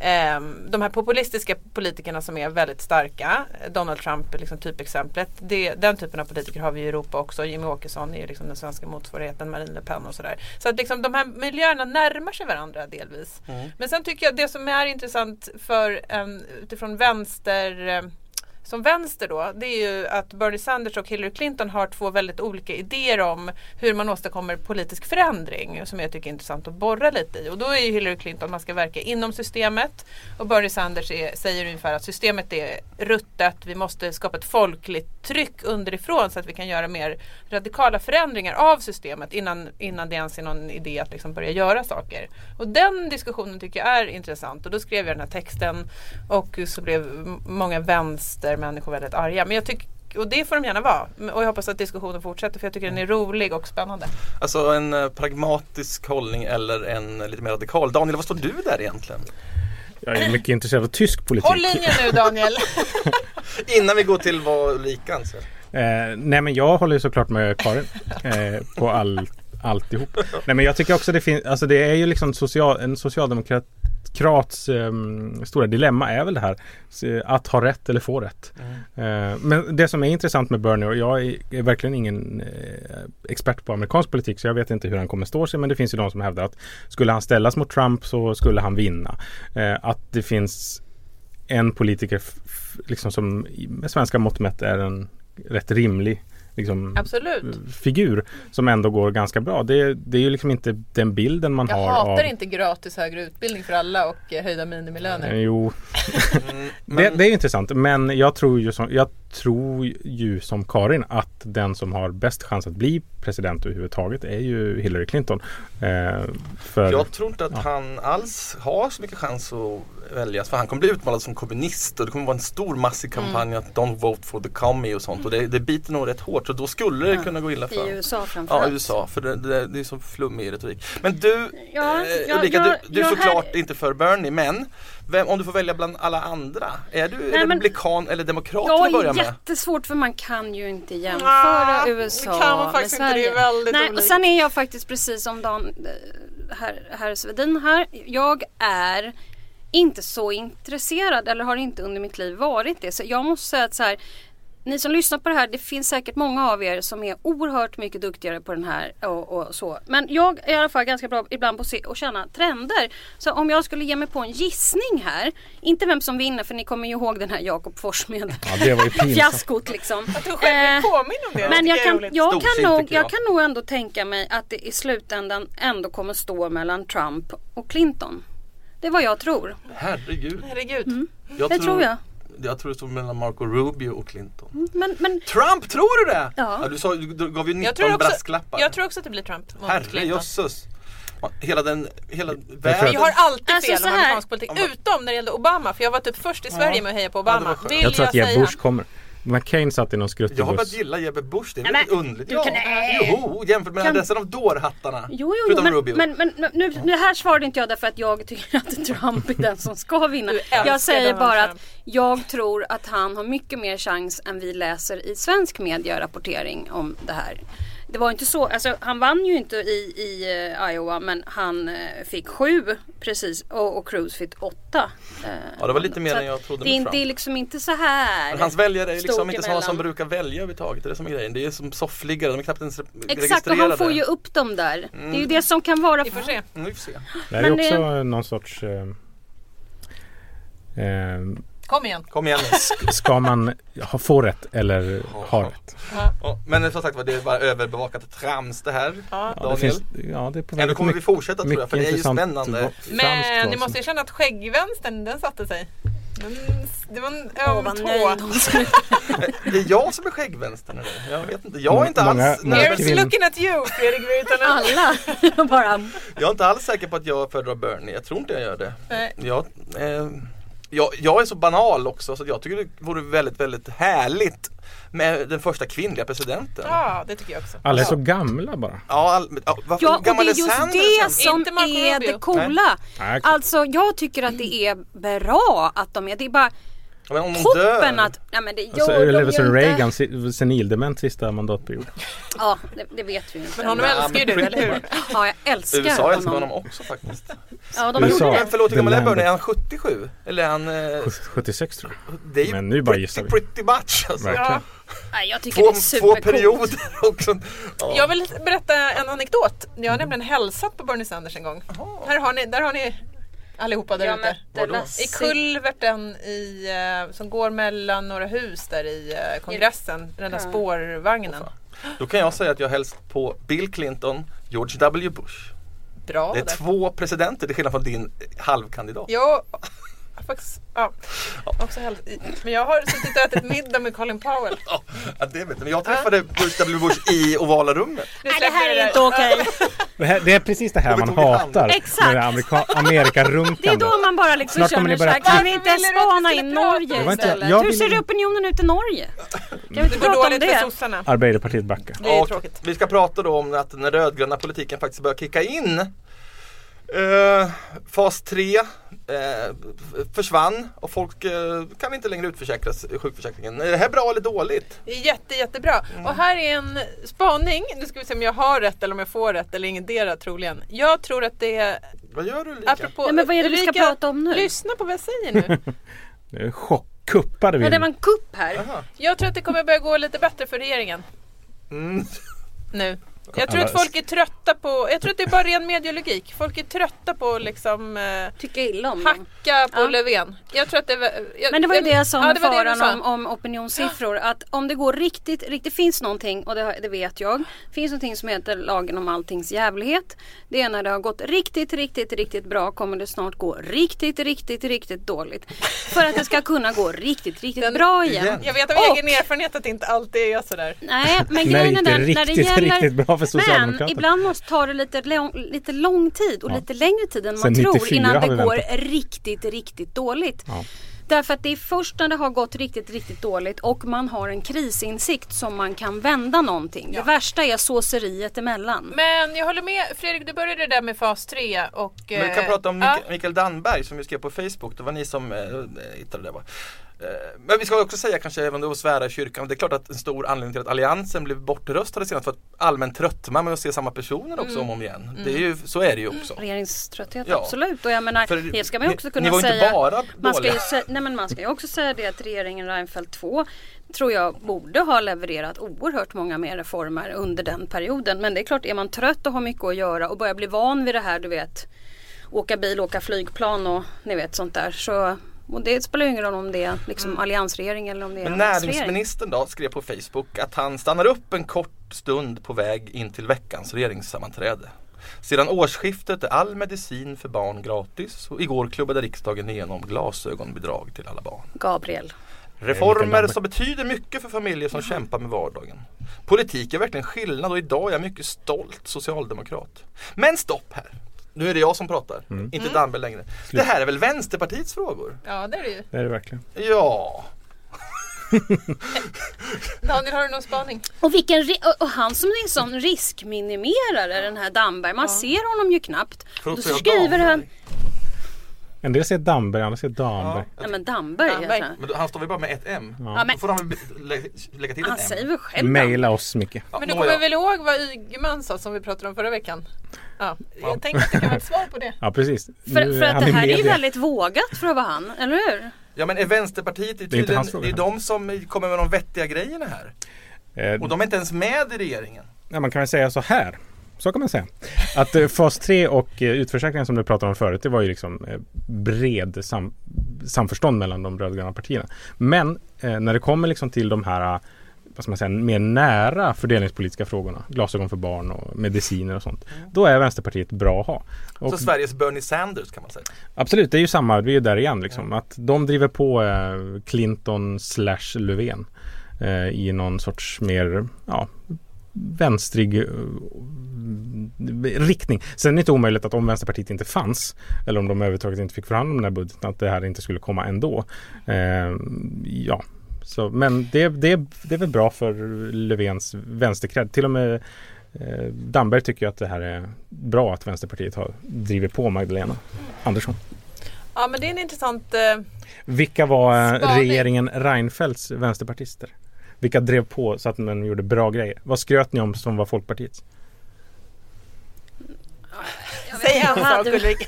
[SPEAKER 6] Ehm, de här populistiska politikerna som är väldigt starka, Donald Trump är liksom typexemplet. Det, den typen av politiker har vi i Europa också. Jimmy Åkesson är ju liksom den svenska motsvarigheten, Marine Le Pen och sådär. Så att liksom de här miljöerna närmar sig varandra delvis. Men sen tycker jag det som är intressant för en utifrån vänster eh, som vänster då, det är ju att Bernie Sanders och Hillary Clinton har två väldigt olika idéer om hur man åstadkommer politisk förändring som jag tycker är intressant att borra lite i. Och då är ju Hillary Clinton att man ska verka inom systemet och Bernie Sanders är, säger ungefär att systemet är ruttet, vi måste skapa ett folkligt tryck underifrån så att vi kan göra mer radikala förändringar av systemet innan, innan det ens är någon idé att liksom börja göra saker. Och den diskussionen tycker jag är intressant och då skrev jag den här texten och så blev m- många vänstermänniskor väldigt arga. Men jag tycker och det får de gärna vara. Men- Och jag hoppas att diskussionen fortsätter för jag tycker den
[SPEAKER 5] Mm.
[SPEAKER 6] är rolig och spännande.
[SPEAKER 3] Alltså en eh, pragmatisk hållning eller en eh, lite mer radikal. Daniel, vad står du där egentligen?
[SPEAKER 5] Jag är mycket intresserad av tysk politik.
[SPEAKER 6] Håll linjen nu Daniel!
[SPEAKER 3] Innan vi går till vad Ulrika anser.
[SPEAKER 5] Eh, nej men jag håller ju såklart med Karin eh, på all, alltihop. Nej men jag tycker också det finns, alltså det är ju liksom social, en socialdemokrats ehm, stora dilemma är väl det här. s- eh, Att ha rätt eller få rätt. Eh, men det som är intressant med Bernie, och jag är, är verkligen ingen eh, expert på amerikansk politik så jag vet inte hur han kommer stå sig men det finns ju de som hävdar att skulle han ställas mot Trump så skulle han vinna. Eh, att det finns en politiker f- f- liksom som i- med svenska mått mätt är en rätt rimlig liksom,
[SPEAKER 6] Absolut.
[SPEAKER 5] figur som ändå går ganska bra. Det, det är ju liksom inte den bilden man
[SPEAKER 6] Jag
[SPEAKER 5] har.
[SPEAKER 6] hatar
[SPEAKER 5] av,
[SPEAKER 6] inte gratis högre utbildning för alla och eh, höjda minimilöner.
[SPEAKER 5] Eh, Jo,
[SPEAKER 3] Mm,
[SPEAKER 5] det,
[SPEAKER 3] men-
[SPEAKER 5] det är ju intressant. Men jag tror ju, som, jag tror ju som Karin att den som har bäst chans att bli president överhuvudtaget är ju Hillary Clinton. Eh, för,
[SPEAKER 3] Jag tror inte att han alls har så mycket chans att väljas för han kommer bli utmanad som kommunist och det kommer vara en stor massiv
[SPEAKER 4] Mm.
[SPEAKER 3] kampanj att don't vote for the commie och sånt och det, det biter nog rätt hårt så då skulle det kunna gå illa
[SPEAKER 4] I
[SPEAKER 3] för
[SPEAKER 4] USA framförallt.
[SPEAKER 3] Ja, USA, för det, det, det är så flummig retorik. Men du,
[SPEAKER 4] Ja,
[SPEAKER 3] eh,
[SPEAKER 4] ja,
[SPEAKER 3] Ulrika,
[SPEAKER 4] jag-
[SPEAKER 3] du, du är
[SPEAKER 4] jag
[SPEAKER 3] såklart
[SPEAKER 4] här-
[SPEAKER 3] inte för Bernie, men vem, om du får välja bland alla andra, är du
[SPEAKER 4] men-
[SPEAKER 3] republikan eller demokrat till att
[SPEAKER 4] Ja,
[SPEAKER 3] börja
[SPEAKER 4] det är
[SPEAKER 3] med?
[SPEAKER 4] jättesvårt för man kan ju inte jämföra
[SPEAKER 6] Nja,
[SPEAKER 4] USA
[SPEAKER 6] Ah, det kan man
[SPEAKER 4] med
[SPEAKER 6] faktiskt inte.
[SPEAKER 4] Sverige.
[SPEAKER 6] Det är väldigt
[SPEAKER 4] Nej, och
[SPEAKER 6] olikt.
[SPEAKER 4] Sen är jag faktiskt precis som Dan, eh, herr, herr Svedin här. Jag är inte så intresserad eller har inte under mitt liv varit det. Så jag måste säga att så här, ni som lyssnar på det här, det finns säkert många av er som är oerhört mycket duktigare på den här och, och så. Men jag är i alla fall ganska bra ibland på att se och känna trender. Så om jag skulle ge mig på en gissning här, inte vem som vinner för ni kommer ju ihåg den här Jakob Forssmed
[SPEAKER 5] ja, det var ju pinsamt.
[SPEAKER 4] fiaskot liksom.
[SPEAKER 6] Att du själv blir
[SPEAKER 4] Eh,
[SPEAKER 6] påminn om det.
[SPEAKER 4] men
[SPEAKER 6] tycker
[SPEAKER 4] jag
[SPEAKER 6] är
[SPEAKER 4] kan,
[SPEAKER 6] roligt.
[SPEAKER 4] jag,
[SPEAKER 3] Storsint,
[SPEAKER 4] kan nog,
[SPEAKER 3] tycker jag.
[SPEAKER 4] jag kan nog ändå tänka mig att det i slutändan ändå kommer stå mellan Trump och Clinton. Det är vad jag tror.
[SPEAKER 3] Herregud.
[SPEAKER 6] Herregud.
[SPEAKER 4] Mm.
[SPEAKER 3] Jag
[SPEAKER 4] Det tror jag.
[SPEAKER 3] Jag tror det stod mellan Marco Rubio och Clinton.
[SPEAKER 4] Men, men
[SPEAKER 3] Trump, tror du det?
[SPEAKER 4] Ja.
[SPEAKER 3] du, sa, du, du gav ju 19
[SPEAKER 6] Jag, tror också,
[SPEAKER 3] brasklappar.
[SPEAKER 6] jag tror också att det blir Trump mot Clinton.
[SPEAKER 3] Herrejösses. Hela den, hela
[SPEAKER 5] tror
[SPEAKER 3] världen.
[SPEAKER 6] Vi har alltid
[SPEAKER 4] Alltså,
[SPEAKER 6] fel
[SPEAKER 4] så
[SPEAKER 6] om
[SPEAKER 4] här-
[SPEAKER 6] amerikansk politik.
[SPEAKER 3] Om man-
[SPEAKER 6] Utom när det gällde Obama. För jag var typ först i Sverige med att heja på
[SPEAKER 3] det
[SPEAKER 6] Obama.
[SPEAKER 3] var skönt.
[SPEAKER 6] vill
[SPEAKER 5] Jag tror att Jeb
[SPEAKER 6] säga.
[SPEAKER 5] Bush kommer. McCain satt i någon skruttig
[SPEAKER 3] Jag har börjat
[SPEAKER 5] buss.
[SPEAKER 3] gilla Jebbe Busch. Det är
[SPEAKER 4] Nej,
[SPEAKER 3] väldigt underligt.
[SPEAKER 4] du kan- nej.
[SPEAKER 3] jo, jämfört med
[SPEAKER 4] Kan-
[SPEAKER 3] resten av dårhattarna.
[SPEAKER 4] Jo, jo, jo
[SPEAKER 3] förutom
[SPEAKER 4] men,
[SPEAKER 3] Rubio.
[SPEAKER 4] men, men men nu, nu här svarade inte jag därför att jag tycker att Trump är den som ska vinna.
[SPEAKER 6] Du älskar
[SPEAKER 4] Jag säger
[SPEAKER 6] Donald
[SPEAKER 4] bara att
[SPEAKER 6] Trump.
[SPEAKER 4] jag tror att han har mycket mer chans än vi läser i svensk media rapportering om det här. Det var inte så, alltså han vann ju inte i, i eh, Iowa men han eh, fick sju precis och, och Cruz fick åtta. eh,
[SPEAKER 3] Ja, det var lite mer
[SPEAKER 4] så
[SPEAKER 3] än jag
[SPEAKER 4] att
[SPEAKER 3] trodde
[SPEAKER 4] Det
[SPEAKER 3] med
[SPEAKER 4] är, inte- det är
[SPEAKER 3] Trump.
[SPEAKER 4] liksom inte så här.
[SPEAKER 3] Men hans väljare är liksom
[SPEAKER 4] stort
[SPEAKER 3] inte sådana som
[SPEAKER 4] emellan.
[SPEAKER 3] brukar välja överhuvudtaget. Det är det som är grejen. Det är som soffliggare. De är knappt ens re-
[SPEAKER 4] Exakt och
[SPEAKER 3] registrerade.
[SPEAKER 4] han får ju upp dem där. Det är ju det som kan vara
[SPEAKER 6] Vi får se.
[SPEAKER 3] Mm, vi får se.
[SPEAKER 5] Det här är
[SPEAKER 4] Men det-
[SPEAKER 5] också någon sorts... Eh, eh,
[SPEAKER 6] Kom igen.
[SPEAKER 3] Kom igen nu.
[SPEAKER 5] ska man ha, få rätt eller ha rätt?
[SPEAKER 3] Ja, Men som sagt var, det är bara överbevakat trams det här.
[SPEAKER 6] Ja.
[SPEAKER 5] Ja, det
[SPEAKER 3] Daniel.
[SPEAKER 5] finns, ja, det är på väg
[SPEAKER 3] Ändå kommer
[SPEAKER 5] mycket-
[SPEAKER 3] vi fortsätta tror jag,
[SPEAKER 5] mycket
[SPEAKER 3] för det är ju
[SPEAKER 5] intressant
[SPEAKER 3] spännande.
[SPEAKER 5] va- framåt,
[SPEAKER 6] Men ni
[SPEAKER 5] alltså.
[SPEAKER 6] måste erkänna att skäggvänstern, den satte sig. Den, det var en
[SPEAKER 4] Åh,
[SPEAKER 6] öm
[SPEAKER 4] vad
[SPEAKER 6] tå.
[SPEAKER 4] nöjd hon ser ut.
[SPEAKER 3] Det är jag som är skäggvänstern eller? Jag vet inte. Jag är inte
[SPEAKER 5] Många-
[SPEAKER 3] alls
[SPEAKER 5] många-
[SPEAKER 3] Nej,
[SPEAKER 6] Here's looking at you Fredrik Virtanen.
[SPEAKER 4] Alla bara
[SPEAKER 3] Jag är inte alls säker på att jag föredrar Bernie. Jag tror inte jag gör det.
[SPEAKER 6] Nej.
[SPEAKER 3] Jag, eh, jag, jag är så banal också så att jag tycker det vore väldigt, väldigt härligt med den första kvinnliga presidenten.
[SPEAKER 6] Ja, det tycker jag också.
[SPEAKER 5] Alla är så gamla bara.
[SPEAKER 3] Ja, all, ja, varför
[SPEAKER 4] Ja, och det
[SPEAKER 3] gammal liksom.
[SPEAKER 4] är just
[SPEAKER 3] Sanders
[SPEAKER 4] det
[SPEAKER 3] ens?
[SPEAKER 4] som
[SPEAKER 6] Inte Marco
[SPEAKER 4] är
[SPEAKER 6] Rubio.
[SPEAKER 4] det coola.
[SPEAKER 5] Nej, exakt.
[SPEAKER 4] Alltså jag tycker att det är bra att de är, det är bara
[SPEAKER 3] Men om hon
[SPEAKER 4] toppen
[SPEAKER 3] dör.
[SPEAKER 4] att, nej men det gör
[SPEAKER 5] Alltså,
[SPEAKER 4] de
[SPEAKER 5] eller
[SPEAKER 4] ju
[SPEAKER 5] som
[SPEAKER 4] inte.
[SPEAKER 5] Reagan, si- senildement sista mandatperioden.
[SPEAKER 4] Ja, det, det vet vi ju inte.
[SPEAKER 6] Men honom
[SPEAKER 3] Nej,
[SPEAKER 6] älskar ju
[SPEAKER 3] men
[SPEAKER 6] du, eller hur?
[SPEAKER 4] Ja, jag älskar
[SPEAKER 3] USA älskar honom också faktiskt.
[SPEAKER 4] Ja, de
[SPEAKER 5] USA.
[SPEAKER 4] gjorde
[SPEAKER 3] Men förlåt, hur
[SPEAKER 5] The
[SPEAKER 3] gammal är
[SPEAKER 5] land
[SPEAKER 3] Bernie? Är
[SPEAKER 5] of-
[SPEAKER 3] han 77? Eller är han... Eh,
[SPEAKER 5] 76 tror jag.
[SPEAKER 3] det är ju
[SPEAKER 5] Men nu bara
[SPEAKER 3] pretty,
[SPEAKER 5] gissar vi.
[SPEAKER 3] pretty much alltså.
[SPEAKER 5] Verkligen.
[SPEAKER 4] det. Nej, jag tycker
[SPEAKER 3] Två,
[SPEAKER 4] det är
[SPEAKER 3] två
[SPEAKER 4] supercoolt.
[SPEAKER 3] perioder också. Ja.
[SPEAKER 6] Jag vill berätta en anekdot. Jag har nämligen hälsat på Bernie Sanders en gång. Här har ni, där har ni allihopa där
[SPEAKER 4] Jag
[SPEAKER 6] ute.
[SPEAKER 4] mötte
[SPEAKER 3] Vadå?
[SPEAKER 6] I
[SPEAKER 4] Lassie.
[SPEAKER 6] kulverten i, eh, som går mellan några hus där i eh, kongressen, den där
[SPEAKER 4] Ja.
[SPEAKER 6] spårvagnen.
[SPEAKER 3] Då kan jag säga att jag hälsat på Bill Clinton, George W Bush.
[SPEAKER 6] Bra
[SPEAKER 3] Det är
[SPEAKER 6] där.
[SPEAKER 3] två presidenter till skillnad från din eh, halvkandidat.
[SPEAKER 6] Jag har faktiskt, ja, också häl- men jag har suttit och ätit middag med Colin Powell.
[SPEAKER 3] Ja, det vet jag. Men jag träffade Bush W Bush i ovala rummet.
[SPEAKER 6] Nu
[SPEAKER 4] Nej, det
[SPEAKER 6] släpper
[SPEAKER 4] här
[SPEAKER 6] vi
[SPEAKER 4] är inte
[SPEAKER 6] där.
[SPEAKER 4] okej.
[SPEAKER 5] Det, här, det är precis det här
[SPEAKER 3] Jag
[SPEAKER 5] man
[SPEAKER 3] tog i hand.
[SPEAKER 5] hatar.
[SPEAKER 4] Exakt.
[SPEAKER 5] Med det amerika- Amerikarunkandet.
[SPEAKER 4] Det är då man bara liksom
[SPEAKER 5] Snart kommer
[SPEAKER 4] känner
[SPEAKER 5] ni
[SPEAKER 4] så
[SPEAKER 5] börja
[SPEAKER 4] här, kan vi
[SPEAKER 6] Varför
[SPEAKER 4] inte
[SPEAKER 6] ville du att vi
[SPEAKER 4] spana
[SPEAKER 6] skulle
[SPEAKER 4] in
[SPEAKER 6] prata om
[SPEAKER 4] Norge
[SPEAKER 6] det?
[SPEAKER 5] inte jag-
[SPEAKER 4] istället?
[SPEAKER 5] jag
[SPEAKER 4] Hur
[SPEAKER 5] ville-
[SPEAKER 4] ser opinionen ut i Norge? Kan vi inte
[SPEAKER 6] Det går
[SPEAKER 4] prata om
[SPEAKER 6] dåligt för
[SPEAKER 4] det?
[SPEAKER 6] sossarna.
[SPEAKER 5] Arbeiderpartiet backar.
[SPEAKER 6] Det är
[SPEAKER 3] Och
[SPEAKER 6] tråkigt.
[SPEAKER 3] Vi ska prata då om att den rödgröna politiken faktiskt börjar kicka in. Eh, fas 3 försvann och folk eh, kan inte längre utförsäkras i sjukförsäkringen. Är det här bra eller dåligt?
[SPEAKER 6] Det är jätte, jättebra.
[SPEAKER 3] Mm.
[SPEAKER 6] Och här är en spaning. Nu ska vi se om jag har rätt eller om jag får rätt eller ingendera troligen. Jag tror att det är...
[SPEAKER 3] Vad gör du Ulrika?
[SPEAKER 6] Apropå,
[SPEAKER 4] Nej, men vad är det vi ska
[SPEAKER 6] Ulrika,
[SPEAKER 4] prata om nu?
[SPEAKER 6] Lyssna på vad jag säger nu.
[SPEAKER 5] Det är Chockkuppade vi.
[SPEAKER 4] Ja, det var en kupp här.
[SPEAKER 3] Jaha.
[SPEAKER 6] jag tror att det kommer börja gå lite bättre för regeringen
[SPEAKER 3] Mm.
[SPEAKER 6] nu. Jag tror att folk är trötta på... Jag tror att det är bara ren mediologik. Folk är trötta på att liksom eh,
[SPEAKER 4] Tycker illa om dem.
[SPEAKER 6] hacka på
[SPEAKER 4] Ja.
[SPEAKER 6] Löfven. Jag tror att det var... Jag,
[SPEAKER 4] Men det var ju
[SPEAKER 6] jag-
[SPEAKER 4] det jag sa om
[SPEAKER 6] ja, det var det du
[SPEAKER 4] faran
[SPEAKER 6] sa.
[SPEAKER 4] om, om opinionssiffror. Att om det går riktigt, riktigt finns någonting och det, har- det vet jag. Finns någonting som heter lagen om alltings jävlighet. Det är när det har gått riktigt, riktigt, riktigt bra kommer det snart gå riktigt, riktigt, riktigt dåligt. För att det ska kunna gå riktigt, riktigt
[SPEAKER 6] Den-
[SPEAKER 4] bra igen.
[SPEAKER 3] igen.
[SPEAKER 6] Jag vet av
[SPEAKER 4] Och-
[SPEAKER 6] egen erfarenhet att det inte alltid är så där.
[SPEAKER 4] Nej, men
[SPEAKER 5] Nej,
[SPEAKER 4] grejen är
[SPEAKER 5] inte
[SPEAKER 4] den, när det
[SPEAKER 5] riktigt,
[SPEAKER 4] gäller...
[SPEAKER 5] riktigt bra för
[SPEAKER 4] Men
[SPEAKER 5] Socialdemokraterna.
[SPEAKER 4] ibland måste ta det lite lång, lite lång tid och lite längre tid än man
[SPEAKER 5] Sen
[SPEAKER 4] tror
[SPEAKER 5] 94
[SPEAKER 4] innan
[SPEAKER 5] har vi
[SPEAKER 4] det går
[SPEAKER 5] väntat.
[SPEAKER 4] riktigt, riktigt dåligt.
[SPEAKER 5] Ja.
[SPEAKER 4] Därför att det är först när det har gått riktigt, riktigt dåligt och man har en krisinsikt som man kan vända någonting. Det värsta är såseriet emellan.
[SPEAKER 6] Men jag håller med Fredrik, du började där med fas 3 och...
[SPEAKER 3] Men vi kan
[SPEAKER 6] eh,
[SPEAKER 3] prata om
[SPEAKER 6] ja.
[SPEAKER 3] Mik- Mikael Danberg som vi skrev på Facebook. Det var ni som eh, hittade det va? Eh, Men vi ska också säga kanske, även om det var att svära i kyrkan, det är klart att en stor anledning till att Alliansen blev bortröstade senast var att allmänt tröttnar man med att se samma personer också om och om igen. Det är ju, så är det ju också.
[SPEAKER 4] Mm. Regeringströtthet,
[SPEAKER 3] Ja.
[SPEAKER 4] absolut. Och jag menar,
[SPEAKER 3] För
[SPEAKER 4] det ska man ju också
[SPEAKER 3] ni-
[SPEAKER 4] kunna
[SPEAKER 3] ni var ju inte
[SPEAKER 4] säga.
[SPEAKER 3] bara
[SPEAKER 4] man, ska ju
[SPEAKER 3] dåliga.
[SPEAKER 4] sä- nej, men man ska ju också säga det att regeringen Reinfeldt 2 tror jag borde ha levererat oerhört många mer reformer under den perioden. Men det är klart, är man trött och har mycket att göra och börjar bli van vid det här, du vet, åka bil, åka flygplan och ni vet sånt där. Så, och det spelar ju ingen roll om det är liksom alliansregering eller om det är
[SPEAKER 3] Mm. Men
[SPEAKER 4] en alliansregering.
[SPEAKER 3] näringsministern då skrev på Facebook att han stannar upp en kort stund på väg in till veckans regeringssammanträde. Sedan årsskiftet är all medicin för barn gratis och igår klubbade riksdagen igenom glasögonbidrag till alla barn.
[SPEAKER 4] Gabriel.
[SPEAKER 5] Eh,
[SPEAKER 3] Reformer som betyder mycket för familjer som kämpar med vardagen. Politik är verkligen skillnad och idag är jag mycket stolt socialdemokrat. Men stopp här! Nu är det jag som pratar,
[SPEAKER 5] Mm.
[SPEAKER 4] Mm.
[SPEAKER 3] inte Damberg längre. Det här är väl Vänsterpartiets frågor?
[SPEAKER 6] Ja, det är det ju.
[SPEAKER 5] Det är det verkligen.
[SPEAKER 3] Ja.
[SPEAKER 6] Daniel, har du någon spaning?
[SPEAKER 4] Och, vilken, ri- och- och han som är en sån riskminimerare den här Damberg. Man ser honom ju knappt.
[SPEAKER 3] Förlåt,
[SPEAKER 4] Då
[SPEAKER 3] sa jag
[SPEAKER 4] skriver
[SPEAKER 3] Damberg?
[SPEAKER 4] han...
[SPEAKER 5] En del säger Damberg, andra säger Damberg.
[SPEAKER 4] Nej men Damberg
[SPEAKER 6] Damberg.
[SPEAKER 4] heter han.
[SPEAKER 3] Men då- han står väl bara med ett M?
[SPEAKER 4] Ja, men
[SPEAKER 3] Då får han väl lä- lägga till
[SPEAKER 4] han
[SPEAKER 3] ett
[SPEAKER 4] säger
[SPEAKER 3] M?
[SPEAKER 4] väl själv Damberg.
[SPEAKER 5] Maila oss Micke.
[SPEAKER 3] Ja,
[SPEAKER 6] Men du
[SPEAKER 3] nåja.
[SPEAKER 6] kommer väl ihåg vad Ygeman sa som vi pratade om förra veckan? Ja,
[SPEAKER 3] Ja.
[SPEAKER 6] jag tänkte att det kan vara ett svar på det.
[SPEAKER 5] Ja precis. Nu
[SPEAKER 4] För, för
[SPEAKER 5] han
[SPEAKER 4] att det
[SPEAKER 5] i
[SPEAKER 4] här är ju
[SPEAKER 5] media.
[SPEAKER 4] väldigt vågat för att vara han, eller hur?
[SPEAKER 3] Ja men är Vänsterpartiet, det är,
[SPEAKER 5] Det är inte
[SPEAKER 3] tydligen,
[SPEAKER 5] hans
[SPEAKER 3] det är,
[SPEAKER 5] fråga.
[SPEAKER 3] de som kommer med de vettiga grejerna här.
[SPEAKER 5] Eh,
[SPEAKER 3] Och de är inte ens med i regeringen.
[SPEAKER 5] Ja, man kan väl säga så här. Så kan man säga. Att eh, fas 3 och eh, utförsäkringen som du pratade om förut, det var ju liksom eh, bred sam- samförstånd mellan de rödgröna partierna. Men eh, när det kommer liksom till de här eh, vad ska man säga, mer nära fördelningspolitiska frågorna, glasögon för barn och mediciner och sånt, då är Vänsterpartiet bra att ha. Och
[SPEAKER 3] Så Sveriges Bernie Sanders kan man säga.
[SPEAKER 5] Absolut, det är ju samma, vi är ju där igen liksom. Att de driver på eh, Clinton slash Löfven eh, i någon sorts mer, ja, vänstrig eh, riktning. Sen är det inte omöjligt att om Vänsterpartiet inte fanns eller om de överhuvudtaget inte fick förhandla om den här budgeten att det här inte skulle komma ändå. Eh, ja, så, men det, det, det är väl bra för Löfvens vänsterkredd. Till och med eh, Damberg tycker ju att det här är bra att Vänsterpartiet har drivit på Magdalena Andersson.
[SPEAKER 6] Ja, men det är en intressant... Eh,
[SPEAKER 5] Vilka var eh,
[SPEAKER 6] Spaning.
[SPEAKER 5] regeringen Reinfeldts vänsterpartister? Vilka drev på så att man gjorde bra grejer? Vad skröt ni om som var Folkpartiets?
[SPEAKER 6] säg en
[SPEAKER 4] Hade
[SPEAKER 6] sak
[SPEAKER 4] vi-
[SPEAKER 6] Ulrika.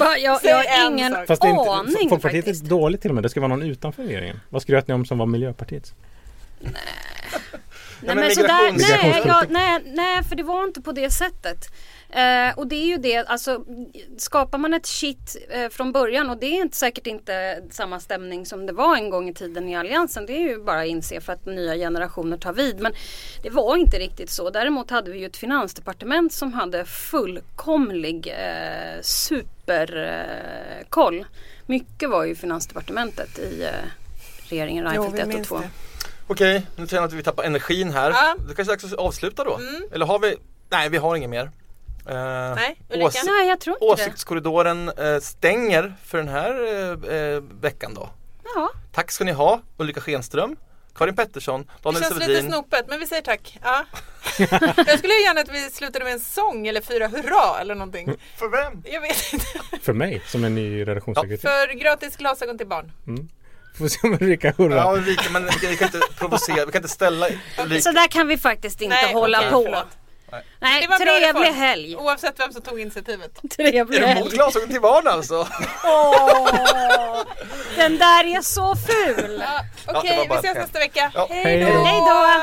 [SPEAKER 4] Bara, jag,
[SPEAKER 6] Säg
[SPEAKER 4] jag har
[SPEAKER 6] en
[SPEAKER 4] ingen
[SPEAKER 6] sak.
[SPEAKER 5] Fast det är inte,
[SPEAKER 4] aning
[SPEAKER 5] Folkpartiet
[SPEAKER 4] faktiskt.
[SPEAKER 5] är dåligt till och med. Det ska vara någon utanför regeringen. Vad skröt ni om som var Miljöpartiets?
[SPEAKER 4] Nej,
[SPEAKER 3] men
[SPEAKER 4] men sådär,
[SPEAKER 3] migrations-
[SPEAKER 4] nej, jag, nej, nej, för det var inte på det sättet. Eh, och det är ju det, alltså skapar man ett shit eh, från början och det är inte, säkert inte samma stämning som det var en gång i tiden i Alliansen. Det är ju bara att inse för att nya generationer tar vid. Men det var inte riktigt så. Däremot hade vi ju ett finansdepartement som hade fullkomlig eh, superkoll. Eh, koll. Mycket var ju finansdepartementet i eh, regeringen Reinfeldt 1 och 2.
[SPEAKER 3] Okej, nu känner jag att vi tappar energin här.
[SPEAKER 6] Ja. Mm.
[SPEAKER 3] Det kanske är dags att avsluta då. Eller har vi? Nej, vi har inget mer. Eh,
[SPEAKER 6] Nej, Ulrika?
[SPEAKER 3] ås-
[SPEAKER 4] Nej, jag tror inte det.
[SPEAKER 3] Åsiktskorridoren eh, stänger för den här eh, eh, veckan då.
[SPEAKER 4] Ja.
[SPEAKER 3] Tack ska ni ha Ulrika Schenström, Karin Pettersson,
[SPEAKER 6] Det
[SPEAKER 3] Daniel
[SPEAKER 6] känns lite
[SPEAKER 3] Severin.
[SPEAKER 6] snopet, men vi säger tack. Ja. Jag skulle ju gärna att vi slutade med en sång eller fyra hurra eller någonting.
[SPEAKER 3] För vem?
[SPEAKER 6] Jag vet inte.
[SPEAKER 5] För mig som är ny redaktionssekreterare.
[SPEAKER 6] För gratis glasögon till barn.
[SPEAKER 5] Får se om Ulrika hurrar.
[SPEAKER 3] Ja, Ulrika, men vi kan inte provocera, vi kan inte ställa Ulrika.
[SPEAKER 4] Så där kan vi faktiskt inte
[SPEAKER 6] Nej,
[SPEAKER 4] hålla
[SPEAKER 6] okej,
[SPEAKER 4] på.
[SPEAKER 6] förlåt.
[SPEAKER 4] Nej,
[SPEAKER 6] Det var en bra
[SPEAKER 4] trevlig
[SPEAKER 6] reform.
[SPEAKER 4] helg.
[SPEAKER 6] Oavsett vem som tog initiativet.
[SPEAKER 4] Trevlig
[SPEAKER 3] Är du
[SPEAKER 4] helg.
[SPEAKER 3] mot glasögon till barn alltså?
[SPEAKER 4] Åh, den där är så ful.
[SPEAKER 6] Ja,
[SPEAKER 3] Ja, det
[SPEAKER 6] Okej,
[SPEAKER 3] var bara
[SPEAKER 6] vi ses
[SPEAKER 3] ett
[SPEAKER 6] nästa vecka.
[SPEAKER 3] Ja.
[SPEAKER 6] Hej då!
[SPEAKER 4] Hej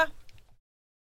[SPEAKER 4] då.